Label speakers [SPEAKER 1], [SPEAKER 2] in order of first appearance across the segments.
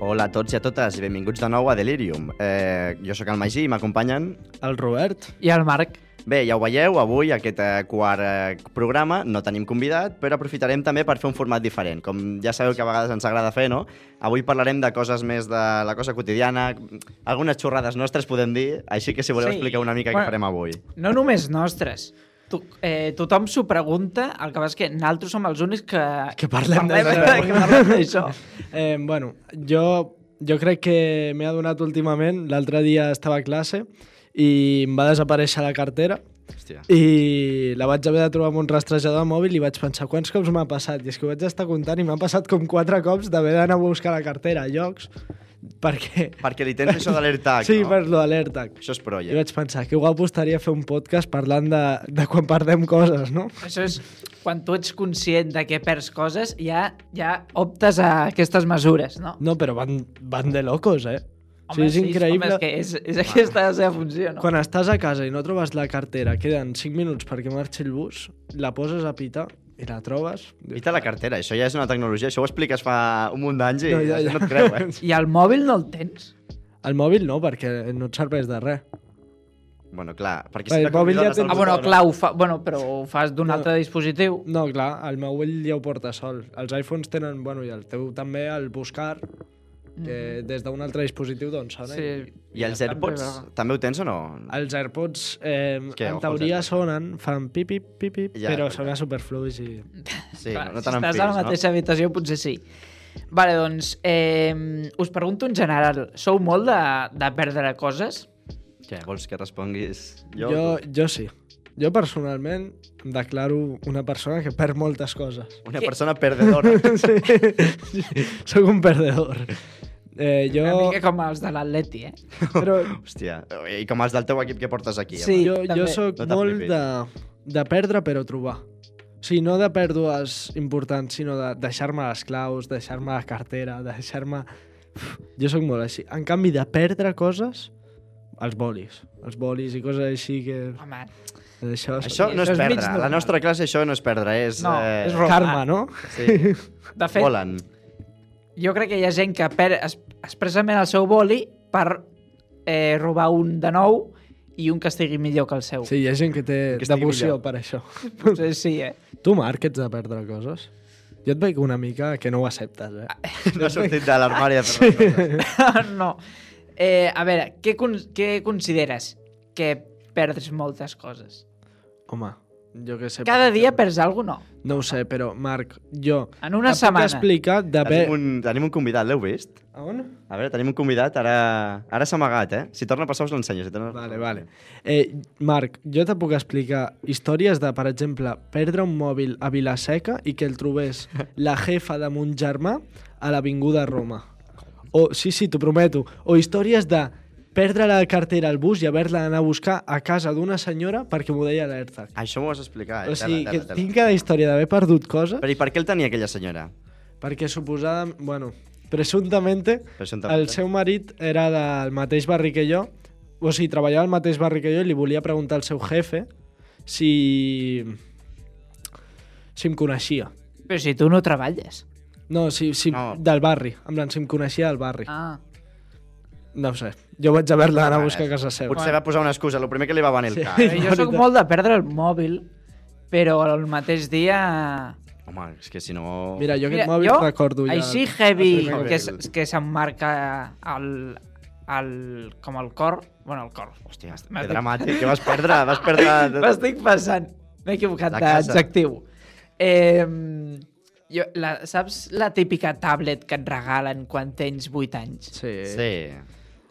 [SPEAKER 1] Hola a tots i a totes i benvinguts de nou a Delirium. Eh, jo sóc el Magí i m'acompanyen...
[SPEAKER 2] El Robert.
[SPEAKER 3] I el Marc.
[SPEAKER 1] Bé, ja ho veieu, avui, aquest eh, quart eh, programa, no tenim convidat, però aprofitarem també per fer un format diferent. Com ja sabeu que a vegades ens agrada fer, no? Avui parlarem de coses més de la cosa quotidiana, algunes xorrades nostres, podem dir, així que si voleu
[SPEAKER 3] Sí.
[SPEAKER 1] sí. explicar una mica bueno.
[SPEAKER 3] Bueno.
[SPEAKER 1] què farem avui.
[SPEAKER 3] No només nostres. Tu, eh, tothom s'ho pregunta, el que passa és que nosaltres som els únics que...
[SPEAKER 2] Que parlem de-
[SPEAKER 3] que parlem d'això.
[SPEAKER 2] Eh, bueno, jo, jo crec que m'he adonat últimament, l'altre dia estava a classe i em va desaparèixer la cartera
[SPEAKER 1] Hòstia.
[SPEAKER 2] i la vaig haver de trobar amb un rastrejador de mòbil i vaig pensar quants cops m'ha passat i és que ho vaig estar comptant i m'ha passat com quatre cops d'haver d'anar a buscar la cartera a llocs perquè...
[SPEAKER 1] Perquè li tens això d'alerta,
[SPEAKER 2] sí,
[SPEAKER 1] Ah, no?
[SPEAKER 2] per lo de l'AirTag.
[SPEAKER 1] Això és
[SPEAKER 2] I
[SPEAKER 1] proia.
[SPEAKER 2] vaig pensar que guapo estaria fer un podcast parlant de, de quan perdem coses, no?
[SPEAKER 3] Això és quan tu ets conscient de que perds coses, ja ja optes a aquestes mesures, no?
[SPEAKER 2] No, però van, van de locos, eh? O sigui, és
[SPEAKER 3] sí,
[SPEAKER 2] increïble.
[SPEAKER 3] Home, és que és, és aquesta la seva funció, no?
[SPEAKER 2] Quan estàs a casa i no trobes la cartera, queden 5 minuts perquè marxi el bus, la poses a pita i la trobes...
[SPEAKER 1] Vita la cartera, això ja és una tecnologia, això ho expliques fa un munt d'anys i
[SPEAKER 2] No,
[SPEAKER 1] no,
[SPEAKER 2] ja,
[SPEAKER 1] ja,
[SPEAKER 2] ja.
[SPEAKER 1] no et creu, eh?
[SPEAKER 3] I el mòbil no el tens?
[SPEAKER 2] El mòbil no, perquè no et serveix de res.
[SPEAKER 1] Bueno, clar, perquè
[SPEAKER 2] El
[SPEAKER 1] si
[SPEAKER 2] mòbil ja tens-
[SPEAKER 3] Ah, bueno, clar, ho fa... bueno, però ho fas d'un
[SPEAKER 2] No.
[SPEAKER 3] altre dispositiu.
[SPEAKER 2] No, clar, el meu ull ja ho porta sol. Els iPhones tenen, bueno, i el teu també, el buscar, que des d'un altre dispositiu doncs sona.
[SPEAKER 3] Mhm. Sí.
[SPEAKER 2] I...
[SPEAKER 1] I els
[SPEAKER 3] Ja està,
[SPEAKER 1] AirPods,
[SPEAKER 3] però-
[SPEAKER 1] també ho tens o no?
[SPEAKER 2] Els AirPods, eh,
[SPEAKER 1] que,
[SPEAKER 2] en
[SPEAKER 1] ojo,
[SPEAKER 2] teoria,
[SPEAKER 1] els AirPods.
[SPEAKER 2] sonen, fan pip, pip, pip, pip,
[SPEAKER 1] Ja,
[SPEAKER 2] ja, però
[SPEAKER 1] és
[SPEAKER 2] sona superfluix i...
[SPEAKER 1] Sí,
[SPEAKER 3] Clar,
[SPEAKER 1] no
[SPEAKER 3] si
[SPEAKER 1] tan
[SPEAKER 3] estàs
[SPEAKER 1] enfils,
[SPEAKER 3] a la mateixa habitació, potser sí. Vale, doncs, eh, us pregunto en general, sou molt de, de perdre coses?
[SPEAKER 1] no? Què, vols que responguis
[SPEAKER 2] Jo, jo, jo sí. Jo personalment em declaro una persona que perd moltes coses.
[SPEAKER 1] Una persona perdedora.
[SPEAKER 2] sí, soc un perdedor. Eh,
[SPEAKER 3] Jo... Una
[SPEAKER 2] jo,
[SPEAKER 3] mica com els de l'Atleti, eh?
[SPEAKER 2] però,
[SPEAKER 1] Hòstia, i com els del teu equip que portes aquí. eh,
[SPEAKER 3] Sí.
[SPEAKER 2] jo, jo
[SPEAKER 3] també.
[SPEAKER 2] soc
[SPEAKER 1] No
[SPEAKER 2] no
[SPEAKER 1] t'ha
[SPEAKER 2] molt
[SPEAKER 1] flipis.
[SPEAKER 2] de, de perdre però trobar. O sigui, no de pèrdues importants, sinó de deixar-me les claus, deixar-me la cartera, deixar-me... Uf, Jo sóc molt així. En canvi, de perdre coses, els bolis. Els bolis i coses així que...
[SPEAKER 3] Home,
[SPEAKER 2] Això,
[SPEAKER 1] Això no és
[SPEAKER 3] Això és mig
[SPEAKER 1] perdre. A la
[SPEAKER 3] normal.
[SPEAKER 1] nostra classe això no és perdre, és... eh,
[SPEAKER 3] No, és robar.
[SPEAKER 2] Karma, no?
[SPEAKER 1] Sí,
[SPEAKER 3] de fet, Vola.
[SPEAKER 1] volen.
[SPEAKER 3] jo crec que hi ha gent que perd es, expressament el seu boli per eh, robar un de nou i un que estigui millor que el seu.
[SPEAKER 2] Sí, hi ha gent que té
[SPEAKER 1] Que estigui
[SPEAKER 2] devoció
[SPEAKER 1] millor.
[SPEAKER 2] per això.
[SPEAKER 3] Potser sí, eh?
[SPEAKER 2] Tu, Marc, ets de perdre coses? Jo et veig una mica que no ho acceptes,
[SPEAKER 3] Ah,
[SPEAKER 2] eh?
[SPEAKER 1] No ha sortit de l'armari de fer res.
[SPEAKER 3] no. Eh, a veure, què, con què consideres que perds moltes coses?
[SPEAKER 2] Home, jo què sé...
[SPEAKER 3] Cada
[SPEAKER 2] per
[SPEAKER 3] dia
[SPEAKER 2] exemple.
[SPEAKER 3] perds alguna cosa, no?
[SPEAKER 2] No ho sé, però, Marc, jo...
[SPEAKER 3] En una
[SPEAKER 2] et
[SPEAKER 3] setmana.
[SPEAKER 2] Puc explicar de pe...
[SPEAKER 1] Tenim un, tenim un convidat, l'heu vist?
[SPEAKER 2] A on?
[SPEAKER 1] A veure, tenim un convidat, ara, ara s'ha amagat, eh? Si torna a passar us l'ensenyo. Si torna...
[SPEAKER 2] Vale, vale. Eh, Marc, jo te puc explicar històries de, per exemple, perdre un mòbil a Vilaseca i que el trobés la jefa de mon germà a l'Avinguda Roma. O, sí, sí, t'ho prometo. O històries de perdre la cartera al bus i haver-la d'anar a buscar a casa d'una senyora perquè m'ho deia l'AirTag.
[SPEAKER 1] Això m'ho vas explicar, eh?
[SPEAKER 2] O sigui,
[SPEAKER 1] Tela,
[SPEAKER 2] que
[SPEAKER 1] tela, tela.
[SPEAKER 2] tinc cada història d'haver perdut coses
[SPEAKER 1] Però i per què el tenia aquella senyora?
[SPEAKER 2] perquè suposada... Bueno, presumptamente,
[SPEAKER 1] Presumptamente.
[SPEAKER 2] el seu marit era del mateix barri que jo, o sigui, treballava al mateix barri que jo i li volia preguntar al seu jefe si... si em coneixia.
[SPEAKER 3] Però si tu no treballes.
[SPEAKER 2] No, si, si
[SPEAKER 1] No.
[SPEAKER 2] del barri, en plan, si em coneixia del barri. Ah.
[SPEAKER 3] Ah.
[SPEAKER 2] No ho sé, jo vaig haver-la d'anar a buscar a casa seva.
[SPEAKER 1] Ah, Potser va posar una excusa, el primer que li va venir el cap.
[SPEAKER 2] Sí.
[SPEAKER 3] Jo sóc
[SPEAKER 2] Veritat.
[SPEAKER 3] molt de perdre el mòbil, però al mateix dia...
[SPEAKER 1] Home, és que si no...
[SPEAKER 2] Mira, jo aquest mòbil recordo ja...
[SPEAKER 3] Així heavy,
[SPEAKER 1] primer
[SPEAKER 3] que,
[SPEAKER 1] cop.
[SPEAKER 3] s- que s'emmarca el, el, com el cor. Bueno, el cor.
[SPEAKER 1] Hòstia, que dramàtic, que vas perdre, vas
[SPEAKER 2] Ah,
[SPEAKER 1] perdre...
[SPEAKER 3] M'estic passant. M'he equivocat
[SPEAKER 1] La casa.
[SPEAKER 3] d'adjectiu. Eh, jo, la, saps la típica tablet que et regalen quan tens 8 anys?
[SPEAKER 2] Sí. sí.
[SPEAKER 1] Sí.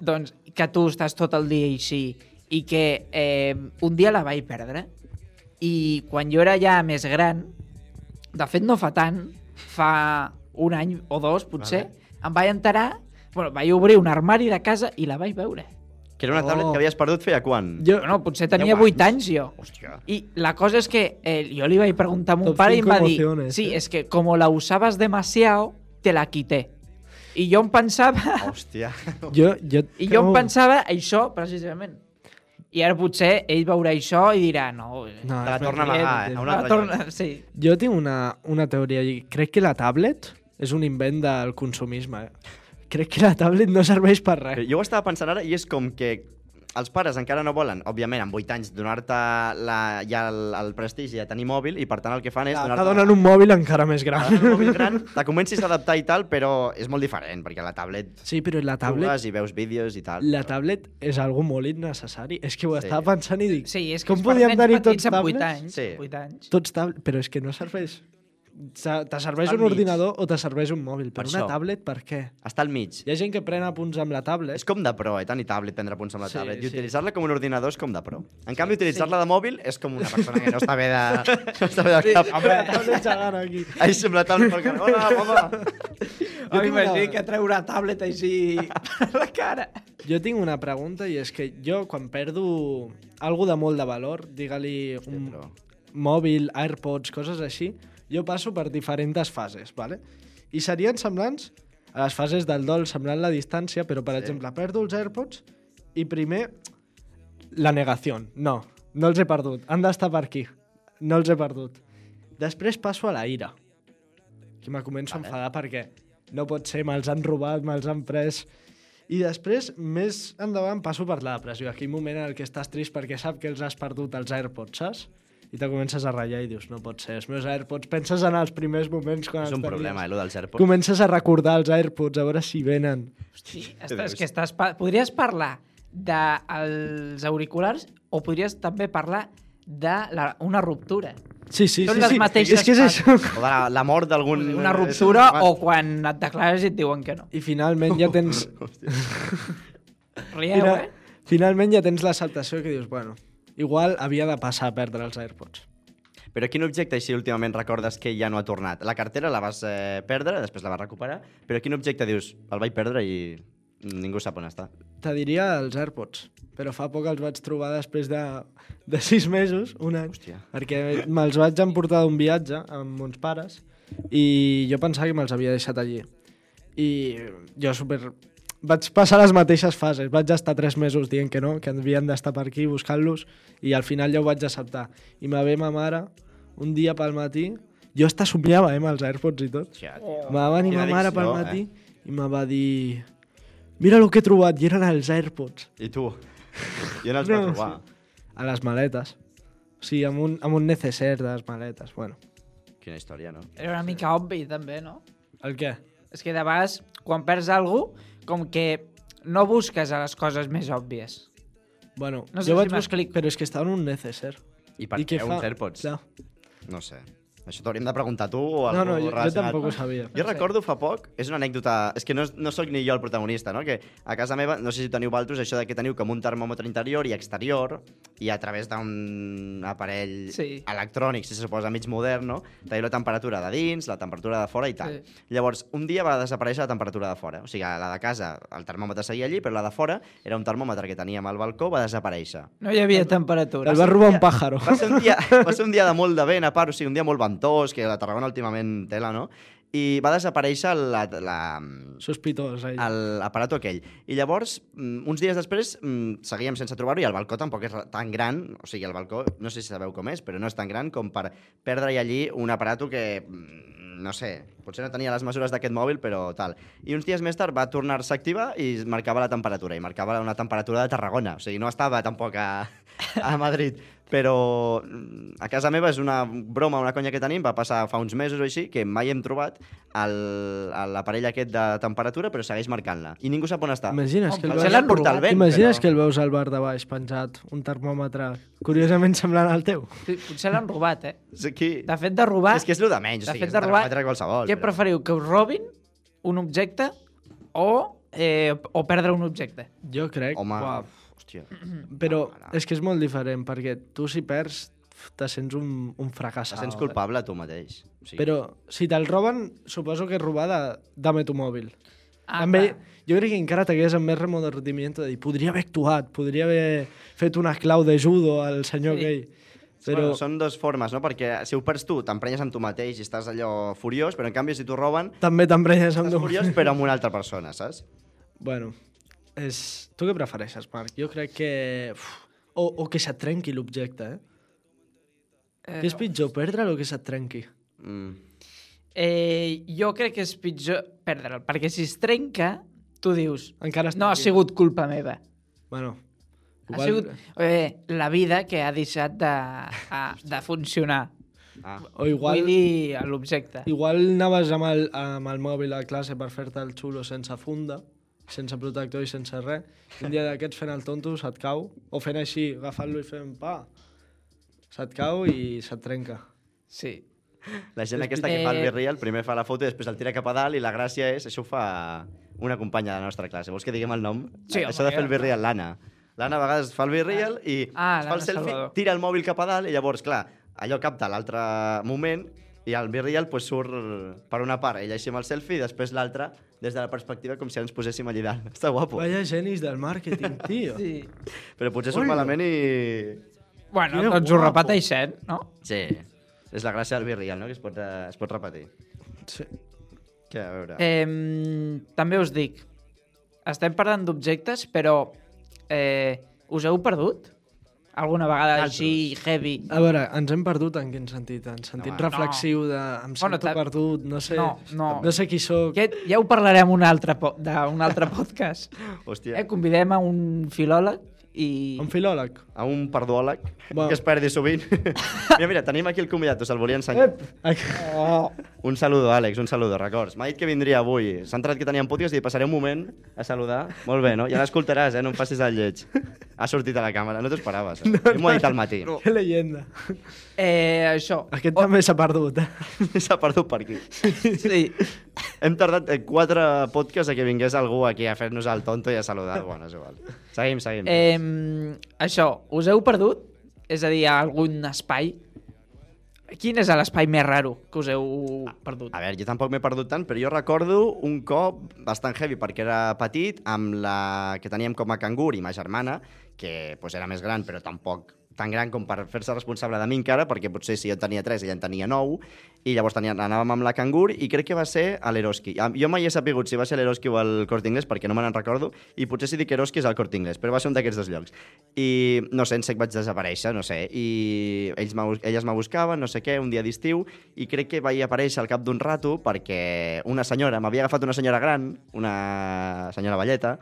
[SPEAKER 3] doncs, que tu estàs tot el dia així i que eh, un dia la vaig perdre i quan jo era ja més gran, de fet no fa tant, fa un any o dos potser, vale. em vaig enterar, bueno, vaig obrir un armari de casa i la vaig veure.
[SPEAKER 1] Que era una
[SPEAKER 2] Oh.
[SPEAKER 1] tablet que havies perdut feia quan?
[SPEAKER 2] Jo,
[SPEAKER 3] Bueno, potser tenia 8 anys jo.
[SPEAKER 1] Hòstia.
[SPEAKER 3] Y la cosa es que eh, yo le iba a ir preguntar a mi
[SPEAKER 2] Top
[SPEAKER 3] padre y
[SPEAKER 2] cinco
[SPEAKER 3] me di,
[SPEAKER 2] emociones,
[SPEAKER 3] sí,
[SPEAKER 2] eh.
[SPEAKER 3] es que como la usabas demasiado, te la quité. I jo em pensava,
[SPEAKER 1] Hòstia.
[SPEAKER 2] jo, jo,
[SPEAKER 3] i jo em
[SPEAKER 2] creu-
[SPEAKER 3] pensava això, precisament. I ara potser ell veurà això i dirà, no... eh,
[SPEAKER 2] No,
[SPEAKER 1] Te la
[SPEAKER 2] és
[SPEAKER 1] torna a
[SPEAKER 2] mentida.
[SPEAKER 1] amagar, eh? A un
[SPEAKER 3] la
[SPEAKER 1] altre lloc.
[SPEAKER 3] torna, sí.
[SPEAKER 2] Jo tinc una, una teoria i crec que la tablet és un invent del consumisme. Crec que la tablet no serveix per res.
[SPEAKER 1] Jo ho estava pensant ara i és com que els pares encara no volen, òbviament, amb 8 anys, donar-te la, ja el, el prestigi de tenir mòbil i, per tant, el que fan és
[SPEAKER 2] T'ha
[SPEAKER 1] donar-te...
[SPEAKER 2] donat un mòbil encara més
[SPEAKER 1] T'adonen un mòbil
[SPEAKER 2] gran.
[SPEAKER 1] gran, te comencis a adaptar i tal, però és molt diferent, perquè la tablet
[SPEAKER 2] Sí, però la tablet,
[SPEAKER 1] jugues i veus vídeos i tal.
[SPEAKER 2] la tablet és algo molt innecessari. És que ho
[SPEAKER 1] Sí.
[SPEAKER 2] estava pensant i dic,
[SPEAKER 3] sí, és que
[SPEAKER 2] com
[SPEAKER 3] és per
[SPEAKER 2] podíem
[SPEAKER 3] nens
[SPEAKER 2] tenir
[SPEAKER 3] petits
[SPEAKER 2] tots
[SPEAKER 3] amb 8
[SPEAKER 2] tablets?
[SPEAKER 3] anys,
[SPEAKER 1] Sí.
[SPEAKER 3] sí. 8 anys.
[SPEAKER 2] Tots tablets, però és que no serveix. Se- Te serveix
[SPEAKER 1] Al
[SPEAKER 2] un
[SPEAKER 1] mig.
[SPEAKER 2] ordinador o te serveix un mòbil. Per
[SPEAKER 1] Per
[SPEAKER 2] una
[SPEAKER 1] això.
[SPEAKER 2] tablet, per què?
[SPEAKER 1] Està al mig.
[SPEAKER 2] Hi ha gent que pren apunts amb la tablet.
[SPEAKER 1] És com de pro, eh? Tant i tablet, prendre punts amb la
[SPEAKER 2] Sí,
[SPEAKER 1] tablet. I
[SPEAKER 2] sí.
[SPEAKER 1] utilitzar-la com un ordinador és com de pro. En canvi, utilitzar-la de mòbil és com una persona que no està bé de... No està bé de cap.
[SPEAKER 2] La tablet gegant aquí.
[SPEAKER 1] Ahí sembla tablet pel carrer. Hola, home!
[SPEAKER 3] Jo
[SPEAKER 2] tinc una-
[SPEAKER 3] m'imagino que treu una tablet així a la cara.
[SPEAKER 2] Jo tinc una pregunta i és que jo quan perdo algo de molt de valor, digue-li un
[SPEAKER 1] però-
[SPEAKER 2] mòbil, AirPods, coses així, jo passo per diferents fases, ¿vale? I serien semblants a les fases del dol, semblant la distància, però per sí. exemple, perdo els AirPods i primer la negació. No, no els he perdut. Han d'estar per aquí. No els he perdut. Després passo a la ira. Que me començo vale. a enfadar perquè no pot ser, me'ls han robat, me'ls han pres... I després, més endavant, passo per la depressió. Aquell moment en el que estàs trist perquè sap que els has perdut els AirPods, saps? I te comences a ratllar i dius, no pot ser, els meus AirPods... Penses en els primers moments quan
[SPEAKER 1] És
[SPEAKER 2] els
[SPEAKER 1] un problema, eh,
[SPEAKER 2] tenies.
[SPEAKER 1] allò dels AirPods.
[SPEAKER 2] Comences a recordar els AirPods, a veure si venen.
[SPEAKER 3] Sí,
[SPEAKER 1] veus?
[SPEAKER 3] estàs, que estàs, pa- podries parlar dels auriculars o podries també parlar de la, una ruptura.
[SPEAKER 2] Sí, sí,
[SPEAKER 3] Són
[SPEAKER 2] sí.
[SPEAKER 3] les
[SPEAKER 2] sí.
[SPEAKER 3] mateixes
[SPEAKER 2] És que és
[SPEAKER 3] fases.
[SPEAKER 2] això.
[SPEAKER 1] O de la, la mort d'algun...
[SPEAKER 3] Una ruptura o quan et declares i et diuen que no.
[SPEAKER 2] I finalment ja tens...
[SPEAKER 3] Rieu,
[SPEAKER 2] Fina,
[SPEAKER 3] eh?
[SPEAKER 2] finalment ja tens l'acceptació que dius, bueno, igual havia de passar a perdre els AirPods.
[SPEAKER 1] Però quin objecte així últimament recordes que ja no ha tornat? La cartera la vas eh, perdre, després la vas recuperar, però quin objecte dius, el vaig perdre i ningú sap on està.
[SPEAKER 2] Te diria els AirPods, però fa poc els vaig trobar després de, de sis mesos, un any,
[SPEAKER 1] Hòstia.
[SPEAKER 2] perquè me'ls vaig emportar d'un viatge amb uns pares i jo pensava que me'ls havia deixat allí. I jo super... Vaig passar les mateixes fases, vaig estar tres mesos dient que no, que havien d'estar per aquí buscant-los i al final ja ho vaig acceptar. I me ve ma mare un dia pel matí, jo hasta somiava eh, amb els AirPods i tot,
[SPEAKER 1] Hòstia,
[SPEAKER 2] Me va venir
[SPEAKER 1] Quina
[SPEAKER 2] ma mare pel
[SPEAKER 1] addicció, eh?
[SPEAKER 2] matí i me va dir... Mira el que he trobat, i eren els AirPods.
[SPEAKER 1] I tu? Jo no els no,
[SPEAKER 2] No,
[SPEAKER 1] vaig trobar.
[SPEAKER 2] A les maletes. O sigui, amb un, amb un neceser de les maletes. Bueno.
[SPEAKER 1] Sí. Quina història, no?
[SPEAKER 3] Era una mica obvi, també, no?
[SPEAKER 2] El què?
[SPEAKER 3] És que de vegades, quan perds alguna cosa, com que no busques a les coses més òbvies.
[SPEAKER 2] Bueno,
[SPEAKER 3] No sé
[SPEAKER 2] jo
[SPEAKER 3] si
[SPEAKER 2] vaig buscar...
[SPEAKER 3] m'explico.
[SPEAKER 2] Però és que estava en un neceser.
[SPEAKER 1] I per què uns AirPods?
[SPEAKER 2] Clar.
[SPEAKER 1] No sé. Això t'hauríem de preguntar tu o algú
[SPEAKER 2] No, no, jo, jo
[SPEAKER 1] relacionat.
[SPEAKER 2] tampoc ho sabia.
[SPEAKER 1] Jo
[SPEAKER 3] No sé.
[SPEAKER 1] recordo fa poc, és una anècdota, és que no, no sóc ni jo el protagonista, no? Que a casa meva, no sé si teniu valtros, això de que teniu com un termòmetre interior i exterior i a través d'un aparell
[SPEAKER 3] Sí.
[SPEAKER 1] electrònic, si se suposa mig modern, no? Teniu la temperatura de dins, la temperatura de fora i tal.
[SPEAKER 3] Sí.
[SPEAKER 1] Llavors, un dia va desaparèixer la temperatura de fora. O sigui, la de casa, el termòmetre seguia allí, però la de fora era un termòmetre que teníem al balcó, va desaparèixer.
[SPEAKER 3] No hi havia temperatura.
[SPEAKER 2] El va robar un pàjaro.
[SPEAKER 1] Va ser un dia, va ser un dia de molt de vent, a part, o sigui, un dia molt ventós, que la Tarragona últimament tela, no? I va desaparèixer la, la,
[SPEAKER 2] Sospitós, ell. El...
[SPEAKER 1] l'aparato aquell. I llavors, mm, uns dies després, mm, seguíem sense trobar-ho i el balcó tampoc és re- tan gran, o sigui, el balcó, no sé si sabeu com és, però no és tan gran com per perdre-hi allí un aparato que, mm, no sé, potser no tenia les mesures d'aquest mòbil, però tal. I uns dies més tard va tornar-se a activar i marcava la temperatura, i marcava una temperatura de Tarragona, o sigui, no estava tampoc a, a Madrid. Però mm, a casa meva és una broma, una conya que tenim, va passar fa uns mesos o així, que mai hem trobat el- l'aparell aquest de temperatura, però segueix marcant-la. I ningú sap on està.
[SPEAKER 2] Imagines
[SPEAKER 3] Home,
[SPEAKER 2] que el veus...
[SPEAKER 3] potser
[SPEAKER 1] Potser l'han
[SPEAKER 3] però-
[SPEAKER 1] portat al vent,
[SPEAKER 2] Imagines
[SPEAKER 1] però...
[SPEAKER 2] que el veus al bar de baix penjat, un termòmetre curiosament semblant al teu.
[SPEAKER 3] Sí, Potser l'han robat, eh?
[SPEAKER 1] És aquí...
[SPEAKER 3] De fet, de robar...
[SPEAKER 1] És que és el de menys, o
[SPEAKER 3] de
[SPEAKER 1] sigui,
[SPEAKER 3] fet,
[SPEAKER 1] és
[SPEAKER 3] de
[SPEAKER 1] un
[SPEAKER 3] robar-
[SPEAKER 1] termòmetre qualsevol.
[SPEAKER 3] Què preferiu, que us robin un objecte o eh, o perdre un objecte.
[SPEAKER 2] Jo crec...
[SPEAKER 1] Home,
[SPEAKER 2] Uau.
[SPEAKER 1] hòstia.
[SPEAKER 2] Però
[SPEAKER 1] Mare.
[SPEAKER 2] és que és molt diferent, perquè tu si perds te sents un, un
[SPEAKER 1] Te
[SPEAKER 2] fracassat.
[SPEAKER 1] sents culpable tu mateix. O sigui,
[SPEAKER 2] Però si te'l roben, suposo que és robar de, dame tu mòbil.
[SPEAKER 3] Ah,
[SPEAKER 2] també,
[SPEAKER 3] clar.
[SPEAKER 2] jo crec que encara t'hagués amb més remordiment de dir, podria haver actuat, podria haver fet una clau de judo al senyor
[SPEAKER 3] Sí.
[SPEAKER 2] sí. aquell. Però,
[SPEAKER 1] Però... Bueno, són dues formes, no? Perquè si ho perds tu, t'emprenyes amb tu mateix i estàs allò furiós, però en canvi si t'ho roben,
[SPEAKER 2] també t'emprenyes amb...
[SPEAKER 1] estàs
[SPEAKER 2] tu.
[SPEAKER 1] furiós però amb una altra persona, saps?
[SPEAKER 2] Bueno, és... tu què prefereixes, Marc? Jo crec que... Uf, o, o que se't trenqui l'objecte, eh?
[SPEAKER 3] Eh,
[SPEAKER 2] Què és pitjor, perdre'l o que se't trenqui?
[SPEAKER 1] Mm.
[SPEAKER 3] Eh, jo crec que és pitjor perdre'l, perquè si es trenca, tu dius,
[SPEAKER 2] Encara està
[SPEAKER 3] no ha
[SPEAKER 2] aquí.
[SPEAKER 3] sigut culpa meva.
[SPEAKER 2] Bueno,
[SPEAKER 3] Ha sigut eh, la vida que ha deixat de, a, de funcionar.
[SPEAKER 1] Ah.
[SPEAKER 2] O
[SPEAKER 3] Igual...
[SPEAKER 2] igual,
[SPEAKER 3] Vull dir, a l'objecte.
[SPEAKER 2] igual anaves amb el, amb el mòbil a classe per fer-te el xulo sense funda, sense protector i sense res. Un dia d'aquests fent el tonto se't cau, o fent així, agafant-lo i fent pa. Se't cau i se't trenca.
[SPEAKER 3] Sí.
[SPEAKER 1] La gent aquesta que fa el virreal, primer fa la foto i després el tira cap a dalt i la gràcia és, això ho fa una companya de la nostra classe. Vols que diguem el nom?
[SPEAKER 3] Sí, home,
[SPEAKER 1] això de fer el
[SPEAKER 3] ja.
[SPEAKER 1] virreal, l'Anna. L'Anna a vegades fa el virreal i
[SPEAKER 3] Ah,
[SPEAKER 1] es fa
[SPEAKER 3] l'Anna
[SPEAKER 1] el selfie,
[SPEAKER 3] Salvador.
[SPEAKER 1] tira el mòbil cap a dalt i llavors, clar, allò capta l'altre moment i el virreal pues, surt per una part, ella així amb el selfie i després l'altra des de la perspectiva com si ara ens poséssim allà dalt. Està guapo.
[SPEAKER 2] Vaya genis del màrqueting, tio.
[SPEAKER 3] sí.
[SPEAKER 1] Però potser surt malament i...
[SPEAKER 3] Bueno,
[SPEAKER 2] Quina
[SPEAKER 3] doncs ho
[SPEAKER 2] guapo.
[SPEAKER 3] repeteixen, no?
[SPEAKER 1] Sí. És la gràcia del virreal, no? Que es pot, eh, es pot repetir.
[SPEAKER 2] Sí.
[SPEAKER 1] Que, a veure...
[SPEAKER 3] Eh, també us dic, estem parlant d'objectes, però eh, us heu perdut? Alguna vegada
[SPEAKER 1] Naltros.
[SPEAKER 3] així heavy?
[SPEAKER 2] A veure, ens hem perdut en quin sentit? En sentit
[SPEAKER 1] Home,
[SPEAKER 2] no, reflexiu de... Em
[SPEAKER 3] Bueno,
[SPEAKER 2] sento
[SPEAKER 3] ta-
[SPEAKER 2] perdut, no sé...
[SPEAKER 3] No, no.
[SPEAKER 2] no sé qui sóc.
[SPEAKER 3] Aquest, ja ho parlarem un altre po d'un altre podcast.
[SPEAKER 1] Hòstia.
[SPEAKER 3] Eh, convidem a un filòleg i...
[SPEAKER 2] Un filòleg.
[SPEAKER 1] a un perdòleg
[SPEAKER 2] Bueno.
[SPEAKER 1] que es perdi sovint. mira, mira, tenim aquí el convidat, us el volia ensenyar. Ep.
[SPEAKER 3] Oh,
[SPEAKER 1] Un saludo, Àlex, un saludo, records. M'ha dit que vindria avui. S'ha entrat que teníem podcast i passaré un moment a saludar. Molt bé, no? Ja l'escoltaràs, eh? No em facis el lleig. Ha sortit a la càmera, no t'ho esperaves. Eh? No, M'ho ha dit al matí. No.
[SPEAKER 2] Que llegenda.
[SPEAKER 3] eh, això.
[SPEAKER 2] Aquest també s'ha perdut. eh?
[SPEAKER 1] S'ha perdut per aquí.
[SPEAKER 3] Sí.
[SPEAKER 1] Hem tardat eh, quatre podcasts a que vingués algú aquí a fer-nos el tonto i a saludar. Bueno, és igual. Seguim, seguim.
[SPEAKER 3] Eh, això, us heu perdut? És a dir, a algun espai? Quin és l'espai més raro que us heu perdut?
[SPEAKER 1] Ah, A veure, jo tampoc m'he perdut tant, però jo recordo un cop bastant heavy, perquè era petit, amb la que teníem com a cangur i ma germana, que pues, era més gran, però tampoc tan gran com per fer-se responsable de mi encara, perquè potser si jo en tenia 3, ella en tenia 9, i llavors tenia, anàvem amb la cangur, i crec que va ser a l'Eroski. Am- Jo mai he sapigut si va ser a l'Eroski o al Corte Inglés, perquè no me n'en recordo, i potser si dic Eroski és al Corte Inglés, però va ser un d'aquests dos llocs. I no sé, en sec vaig desaparèixer, no sé, i ells me, bus- elles me buscaven, no sé què, un dia d'estiu, i crec que vaig aparèixer al cap d'un rato perquè una senyora, m'havia agafat una senyora gran, una senyora velleta,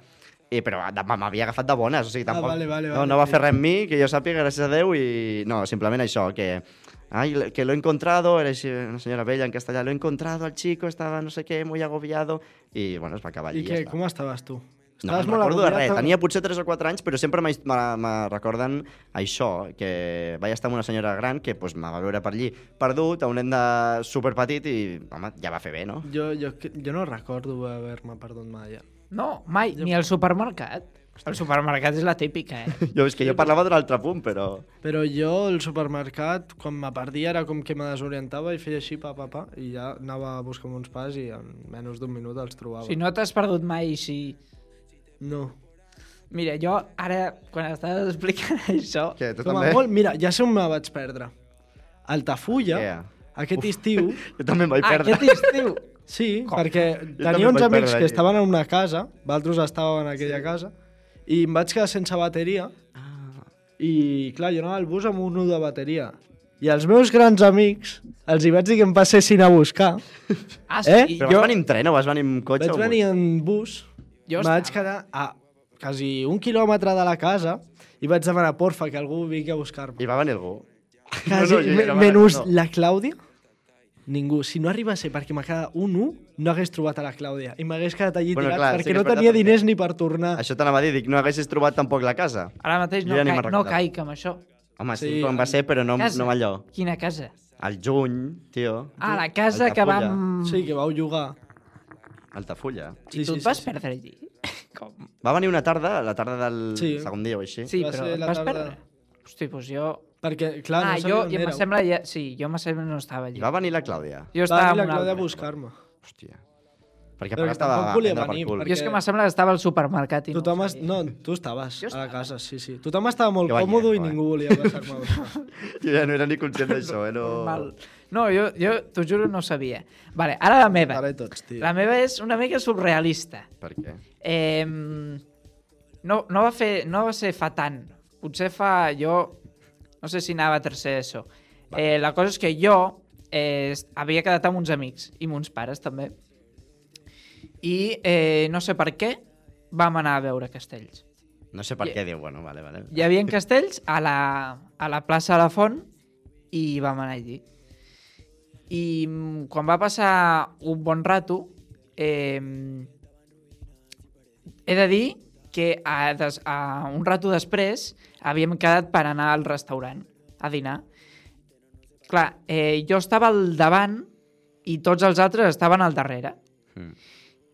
[SPEAKER 1] i, però de- m'havia agafat de bones, o sigui,
[SPEAKER 2] Ah,
[SPEAKER 1] tampoc...
[SPEAKER 2] vale, vale,
[SPEAKER 1] no,
[SPEAKER 2] vale,
[SPEAKER 1] no va
[SPEAKER 2] sí.
[SPEAKER 1] fer res amb mi, que jo sàpiga, gràcies a Déu, i no, simplement això, que... Ay, lo- que lo he encontrado, era així, una senyora vella en castellà, lo he encontrado al chico, estaba no sé qué, muy agobiado, i bueno, es va acabar allí.
[SPEAKER 2] I
[SPEAKER 1] ja
[SPEAKER 2] què,
[SPEAKER 1] està.
[SPEAKER 2] com estaves tu?
[SPEAKER 1] No
[SPEAKER 2] Estaves
[SPEAKER 1] me'n recordo de
[SPEAKER 2] agobiat, eh?
[SPEAKER 1] res.
[SPEAKER 2] o-
[SPEAKER 1] Tenia potser 3 o 4 anys, però sempre m'hi- me me recorden això, que vaig estar amb una senyora gran que pues, me va veure per allí perdut, a un nen de superpetit i, home, ja va fer bé, no?
[SPEAKER 2] Jo, jo, jo no recordo haver-me perdut mai. eh. ja.
[SPEAKER 3] No, mai, ni al supermercat. El supermercat és la típica, eh?
[SPEAKER 1] Jo, és que jo parlava d'un altre punt, però...
[SPEAKER 2] Però jo al supermercat, quan me perdia, era com que me desorientava i feia així, pa, pa, pa, i ja anava a buscar amb uns pas i en menys d'un minut els trobava.
[SPEAKER 3] Si no t'has perdut mai, si...
[SPEAKER 2] no.
[SPEAKER 3] Mira, jo ara, quan estaves explicant això...
[SPEAKER 1] Què, tu
[SPEAKER 2] Com a
[SPEAKER 1] també?
[SPEAKER 2] molt, mira, ja sé on me vaig perdre. Altafulla,
[SPEAKER 1] Yeah.
[SPEAKER 2] aquest estiu,
[SPEAKER 1] Jo també em vaig
[SPEAKER 3] Ah,
[SPEAKER 1] perdre.
[SPEAKER 3] aquest estiu!
[SPEAKER 2] sí,
[SPEAKER 3] Com?
[SPEAKER 2] perquè
[SPEAKER 1] Jo també
[SPEAKER 2] tenia uns
[SPEAKER 1] em vaig
[SPEAKER 2] amics
[SPEAKER 1] perdre
[SPEAKER 2] que
[SPEAKER 1] allí.
[SPEAKER 2] estaven en una casa, altres estàvem en aquella sí. casa, i em vaig quedar sense bateria, I, clar, jo anava al bus amb un 1 de bateria. I els meus grans amics els hi vaig dir que em passessin a buscar.
[SPEAKER 3] Ah,
[SPEAKER 2] Eh?
[SPEAKER 3] sí,
[SPEAKER 1] Però
[SPEAKER 3] jo,
[SPEAKER 1] vas venir amb tren o vas venir amb cotxe?
[SPEAKER 2] Vaig
[SPEAKER 1] o
[SPEAKER 2] venir en bus,
[SPEAKER 3] Jo
[SPEAKER 2] jo vaig
[SPEAKER 3] estava.
[SPEAKER 2] quedar a quasi un quilòmetre de la casa i vaig demanar, porfa, que algú vingui a buscar-me.
[SPEAKER 1] I va venir algú.
[SPEAKER 2] Quasi,
[SPEAKER 1] no, jo
[SPEAKER 2] me-
[SPEAKER 1] era mare,
[SPEAKER 2] menys
[SPEAKER 1] no.
[SPEAKER 2] la Clàudia, ningú. Si no arriba a ser perquè m'ha quedat un 1, no hagués trobat a la Clàudia. I m'hagués quedat allí
[SPEAKER 1] Bueno,
[SPEAKER 2] tirat
[SPEAKER 1] clar, sí
[SPEAKER 2] perquè
[SPEAKER 1] que és
[SPEAKER 2] no
[SPEAKER 1] veritat,
[SPEAKER 2] tenia
[SPEAKER 1] perquè-
[SPEAKER 2] diners ni per tornar.
[SPEAKER 1] Això t'anava a dir, dic, no haguessis trobat tampoc la casa.
[SPEAKER 3] ara mateix no,
[SPEAKER 1] Jo ja ni
[SPEAKER 3] ca
[SPEAKER 1] me'n
[SPEAKER 3] no
[SPEAKER 1] recordava.
[SPEAKER 3] caic amb això.
[SPEAKER 1] Home, sí,
[SPEAKER 2] Sí,
[SPEAKER 1] quan va
[SPEAKER 2] en-
[SPEAKER 1] ser, però no,
[SPEAKER 3] Casa.
[SPEAKER 1] no amb allò.
[SPEAKER 3] Quina casa?
[SPEAKER 1] Al juny, tio.
[SPEAKER 3] Ah, la casa que
[SPEAKER 1] Altafulla.
[SPEAKER 3] vam...
[SPEAKER 2] Sí, que vau jugar.
[SPEAKER 1] Altafulla.
[SPEAKER 3] I tu et vas perdre allí? Com?
[SPEAKER 1] Va venir una tarda, la tarda del
[SPEAKER 2] Sí.
[SPEAKER 1] segon dia o així.
[SPEAKER 3] Sí,
[SPEAKER 2] Va
[SPEAKER 3] però
[SPEAKER 2] ser la
[SPEAKER 3] vas
[SPEAKER 2] tarda-
[SPEAKER 3] perdre. Hosti, doncs jo...
[SPEAKER 2] Perquè, clar,
[SPEAKER 3] Ah,
[SPEAKER 2] no sabia
[SPEAKER 3] jo,
[SPEAKER 2] on
[SPEAKER 3] jo
[SPEAKER 2] éreu.
[SPEAKER 3] me sembla... Ja... Sí, jo me sembla no estava
[SPEAKER 1] I
[SPEAKER 3] allí.
[SPEAKER 1] va venir la Clàudia.
[SPEAKER 3] Jo
[SPEAKER 2] Va
[SPEAKER 3] estava
[SPEAKER 2] venir la
[SPEAKER 3] en un
[SPEAKER 2] Clàudia a
[SPEAKER 3] altre.
[SPEAKER 2] buscar-me.
[SPEAKER 1] Hòstia. Perquè
[SPEAKER 2] Però
[SPEAKER 1] Però
[SPEAKER 2] que
[SPEAKER 1] estava
[SPEAKER 2] tampoc
[SPEAKER 1] a
[SPEAKER 2] volia
[SPEAKER 1] prendre per
[SPEAKER 2] venir,
[SPEAKER 1] cul.
[SPEAKER 3] Jo és
[SPEAKER 2] perquè-
[SPEAKER 3] que me sembla que estava al supermercat i
[SPEAKER 2] Tothom
[SPEAKER 3] no, ho
[SPEAKER 2] es...
[SPEAKER 3] sabia.
[SPEAKER 2] No, tu estaves
[SPEAKER 3] Jo
[SPEAKER 2] a la
[SPEAKER 3] estava.
[SPEAKER 2] casa, sí, sí. Tothom estava molt
[SPEAKER 1] Jo vaig
[SPEAKER 2] còmodo
[SPEAKER 1] anar,
[SPEAKER 2] i
[SPEAKER 1] jo
[SPEAKER 2] ningú volia passar-me a buscar.
[SPEAKER 1] Jo ja no era ni conscient d'això, eh? No...
[SPEAKER 3] Mal. No, jo, jo t'ho juro, no ho sabia. Vale, ara la meva.
[SPEAKER 2] Ara i tots, tio.
[SPEAKER 3] La meva és una mica surrealista.
[SPEAKER 1] Per què?
[SPEAKER 3] Eh, no, no, va fer, no va ser fa tant. Potser fa... Jo no sé si anava a tercer ESO. Eh, la cosa és que jo eh, est- havia quedat amb uns amics i amb uns pares també. I eh, no sé per què vam anar a veure castells.
[SPEAKER 1] No sé per
[SPEAKER 3] Ja.
[SPEAKER 1] què diu, bueno, vale, vale.
[SPEAKER 3] Hi havia castells a la, a la plaça de la Font i vam anar allí. I mm, quan va passar un bon rato, eh, he de dir que a, des, a un rato després havíem quedat per anar al restaurant a dinar. Clar, eh, jo estava al davant i tots els altres estaven al darrere.
[SPEAKER 1] Mm.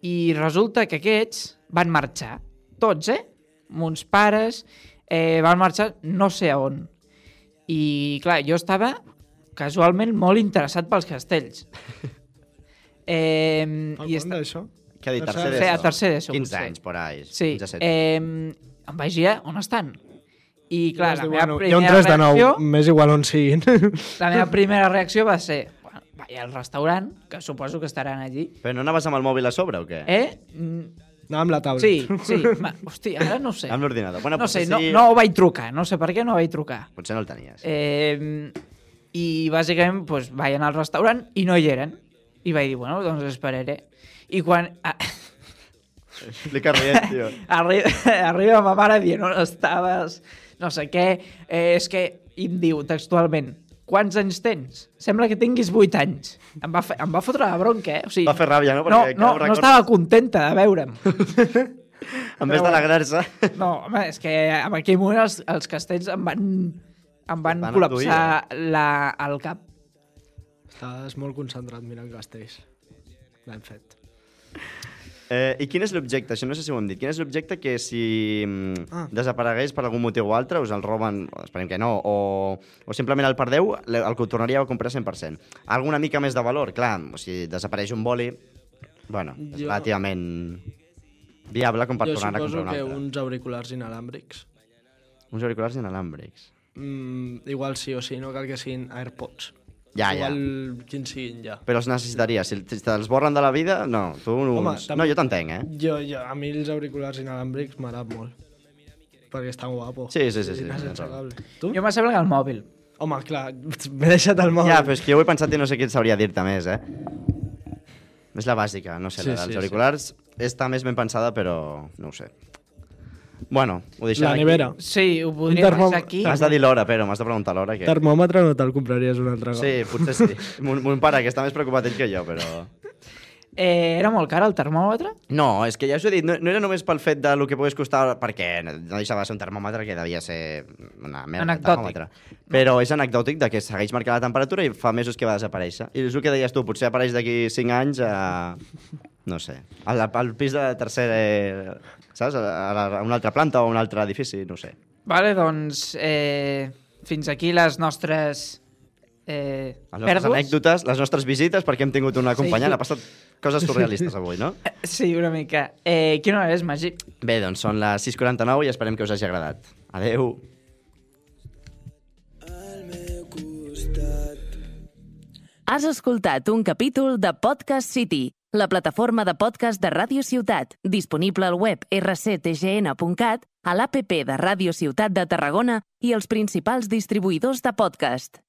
[SPEAKER 3] I resulta que aquests van marxar. Tots, eh? Mons pares eh, van marxar no sé a on. I, clar, jo estava casualment molt interessat pels castells. Eh,
[SPEAKER 2] Fa
[SPEAKER 3] i
[SPEAKER 2] quant
[SPEAKER 3] esta...
[SPEAKER 2] d'això?
[SPEAKER 1] Què ha dit?
[SPEAKER 2] Tercer
[SPEAKER 1] Tercer d'ESO?
[SPEAKER 3] d'ESO. Sí, a tercer d'ESO,
[SPEAKER 1] 15
[SPEAKER 3] potser.
[SPEAKER 1] anys, por ahí.
[SPEAKER 3] Sí,
[SPEAKER 1] 15, 17.
[SPEAKER 3] eh, em vaig dir, on estan? I, clar,
[SPEAKER 2] Vas
[SPEAKER 3] la
[SPEAKER 2] dir,
[SPEAKER 3] meva,
[SPEAKER 2] bueno, hi ha un
[SPEAKER 3] primera
[SPEAKER 2] 3 de Mm. 9,
[SPEAKER 3] reacció,
[SPEAKER 2] més igual on siguin.
[SPEAKER 3] la meva primera reacció va ser bueno, vaig al restaurant, que suposo que estaran allí.
[SPEAKER 1] Però no anaves amb el mòbil a sobre o què?
[SPEAKER 3] Eh? Mm,
[SPEAKER 2] Anava amb la taula.
[SPEAKER 3] Sí, sí. Ma, hòstia, ara no ho sé.
[SPEAKER 1] Amb l'ordinador. Bueno,
[SPEAKER 3] No sé,
[SPEAKER 1] potser
[SPEAKER 3] no,
[SPEAKER 1] sí,
[SPEAKER 3] no ho vaig trucar. No sé per què no ho vaig trucar.
[SPEAKER 1] Potser no el tenies.
[SPEAKER 3] Eh, I bàsicament doncs, vaig anar al restaurant i no hi eren. I vaig dir, bueno, doncs esperaré. I quan a,
[SPEAKER 1] Li que rient, tio.
[SPEAKER 3] arri arriba ma mare dient on estaves, no sé què, eh, és que, i em diu textualment, quants anys tens? Sembla que tinguis 8 anys. Em va, fe, em va fotre la bronca, eh? O sigui,
[SPEAKER 1] Va fer ràbia, no?
[SPEAKER 3] No,
[SPEAKER 1] Perquè
[SPEAKER 3] no,
[SPEAKER 1] encara ho
[SPEAKER 3] no
[SPEAKER 1] recordo.
[SPEAKER 3] estava contenta de veure'm.
[SPEAKER 1] En vez d'alegrar-se...
[SPEAKER 3] No, home, és que en aquell moment els, els castells em van, em van,
[SPEAKER 1] van eh?
[SPEAKER 3] col·lapsar la, el cap.
[SPEAKER 2] Estàs molt concentrat mirant castells. L'hem fet.
[SPEAKER 1] Eh, I quin és l'objecte? Això no sé si ho hem dit. Quin és l'objecte que si mm,
[SPEAKER 2] Ah.
[SPEAKER 1] desaparegués per algun motiu o altre us el roben, o esperem que no, o, o simplement el perdeu, le- el que ho tornaríeu a comprar 100%. Alguna mica més de valor, clar, o si desapareix un boli, bueno, és
[SPEAKER 2] Jo-
[SPEAKER 1] relativament viable com per
[SPEAKER 2] jo
[SPEAKER 1] tornar a comprar
[SPEAKER 2] suposo
[SPEAKER 1] un
[SPEAKER 2] que
[SPEAKER 1] altre.
[SPEAKER 2] uns auriculars inalàmbrics.
[SPEAKER 1] Uns auriculars inalàmbrics.
[SPEAKER 2] Mm, igual sí o sí, no cal que siguin AirPods.
[SPEAKER 1] Ja, ja.
[SPEAKER 2] Igual quins siguin ja.
[SPEAKER 1] Però els necessitaries. Si si te'ls borren de la vida, no. Tu uns...
[SPEAKER 2] Home,
[SPEAKER 1] No,
[SPEAKER 2] també-
[SPEAKER 1] jo t'entenc, eh?
[SPEAKER 2] Jo, jo, a mi els auriculars inalàmbrics m'agraden molt. Perquè estan guapo.
[SPEAKER 1] Sí, sí, sí, sí,
[SPEAKER 2] I
[SPEAKER 1] tens
[SPEAKER 2] sense
[SPEAKER 1] raó.
[SPEAKER 2] cable. Tu?
[SPEAKER 3] Jo me sembla que el mòbil.
[SPEAKER 2] Home, clar, m'he deixat el mòbil.
[SPEAKER 1] Ja, però és que jo ho he pensat i no sé què et sabria dir-te més, eh? És la bàsica, no sé,
[SPEAKER 2] Sí,
[SPEAKER 1] sí, la dels
[SPEAKER 2] sí,
[SPEAKER 1] sí, auriculars sí. està més ben pensada, però no ho sé. Bueno, ho deixem
[SPEAKER 2] La
[SPEAKER 1] aquí.
[SPEAKER 2] nevera.
[SPEAKER 3] Sí, ho podria
[SPEAKER 2] termòmetre-
[SPEAKER 3] passar aquí.
[SPEAKER 1] Has de dir l'hora, però m'has de preguntar l'hora. Que...
[SPEAKER 2] Termòmetre no te'l compraries un altre cop.
[SPEAKER 1] Sí, potser sí. mon, mon pare, que està més preocupat ell que jo, però...
[SPEAKER 3] Eh, era molt car el termòmetre?
[SPEAKER 1] No, és que ja us ho he dit, no, no era només pel fet de lo que pogués costar, perquè no deixava de ser un termòmetre que devia ser una merda de
[SPEAKER 3] Anecdòtic.
[SPEAKER 1] termòmetre. Però és anecdòtic de que segueix marcant la temperatura i fa mesos que va desaparèixer. I és el que deies tu, potser apareix d'aquí 5 anys a... No sé, al, al pis de tercer... eh, Saps? A, la, a una altra planta o a un altre edifici, no ho sé.
[SPEAKER 3] Vale, doncs eh, fins aquí les nostres eh,
[SPEAKER 1] Les nostres
[SPEAKER 3] pèrdues.
[SPEAKER 1] anècdotes, les nostres visites, perquè hem tingut una companya, sí. ha passat coses surrealistes avui, no?
[SPEAKER 3] Sí, una mica. Eh, quina hora és, Magí?
[SPEAKER 1] Bé, doncs són les 6.49 i esperem que us hagi agradat. Adeu!
[SPEAKER 4] Has escoltat un capítol de Podcast City, la plataforma de podcast de Ràdio Ciutat, disponible al web rctgn.cat, a l'APP de Ràdio Ciutat de Tarragona i els principals distribuïdors de podcast.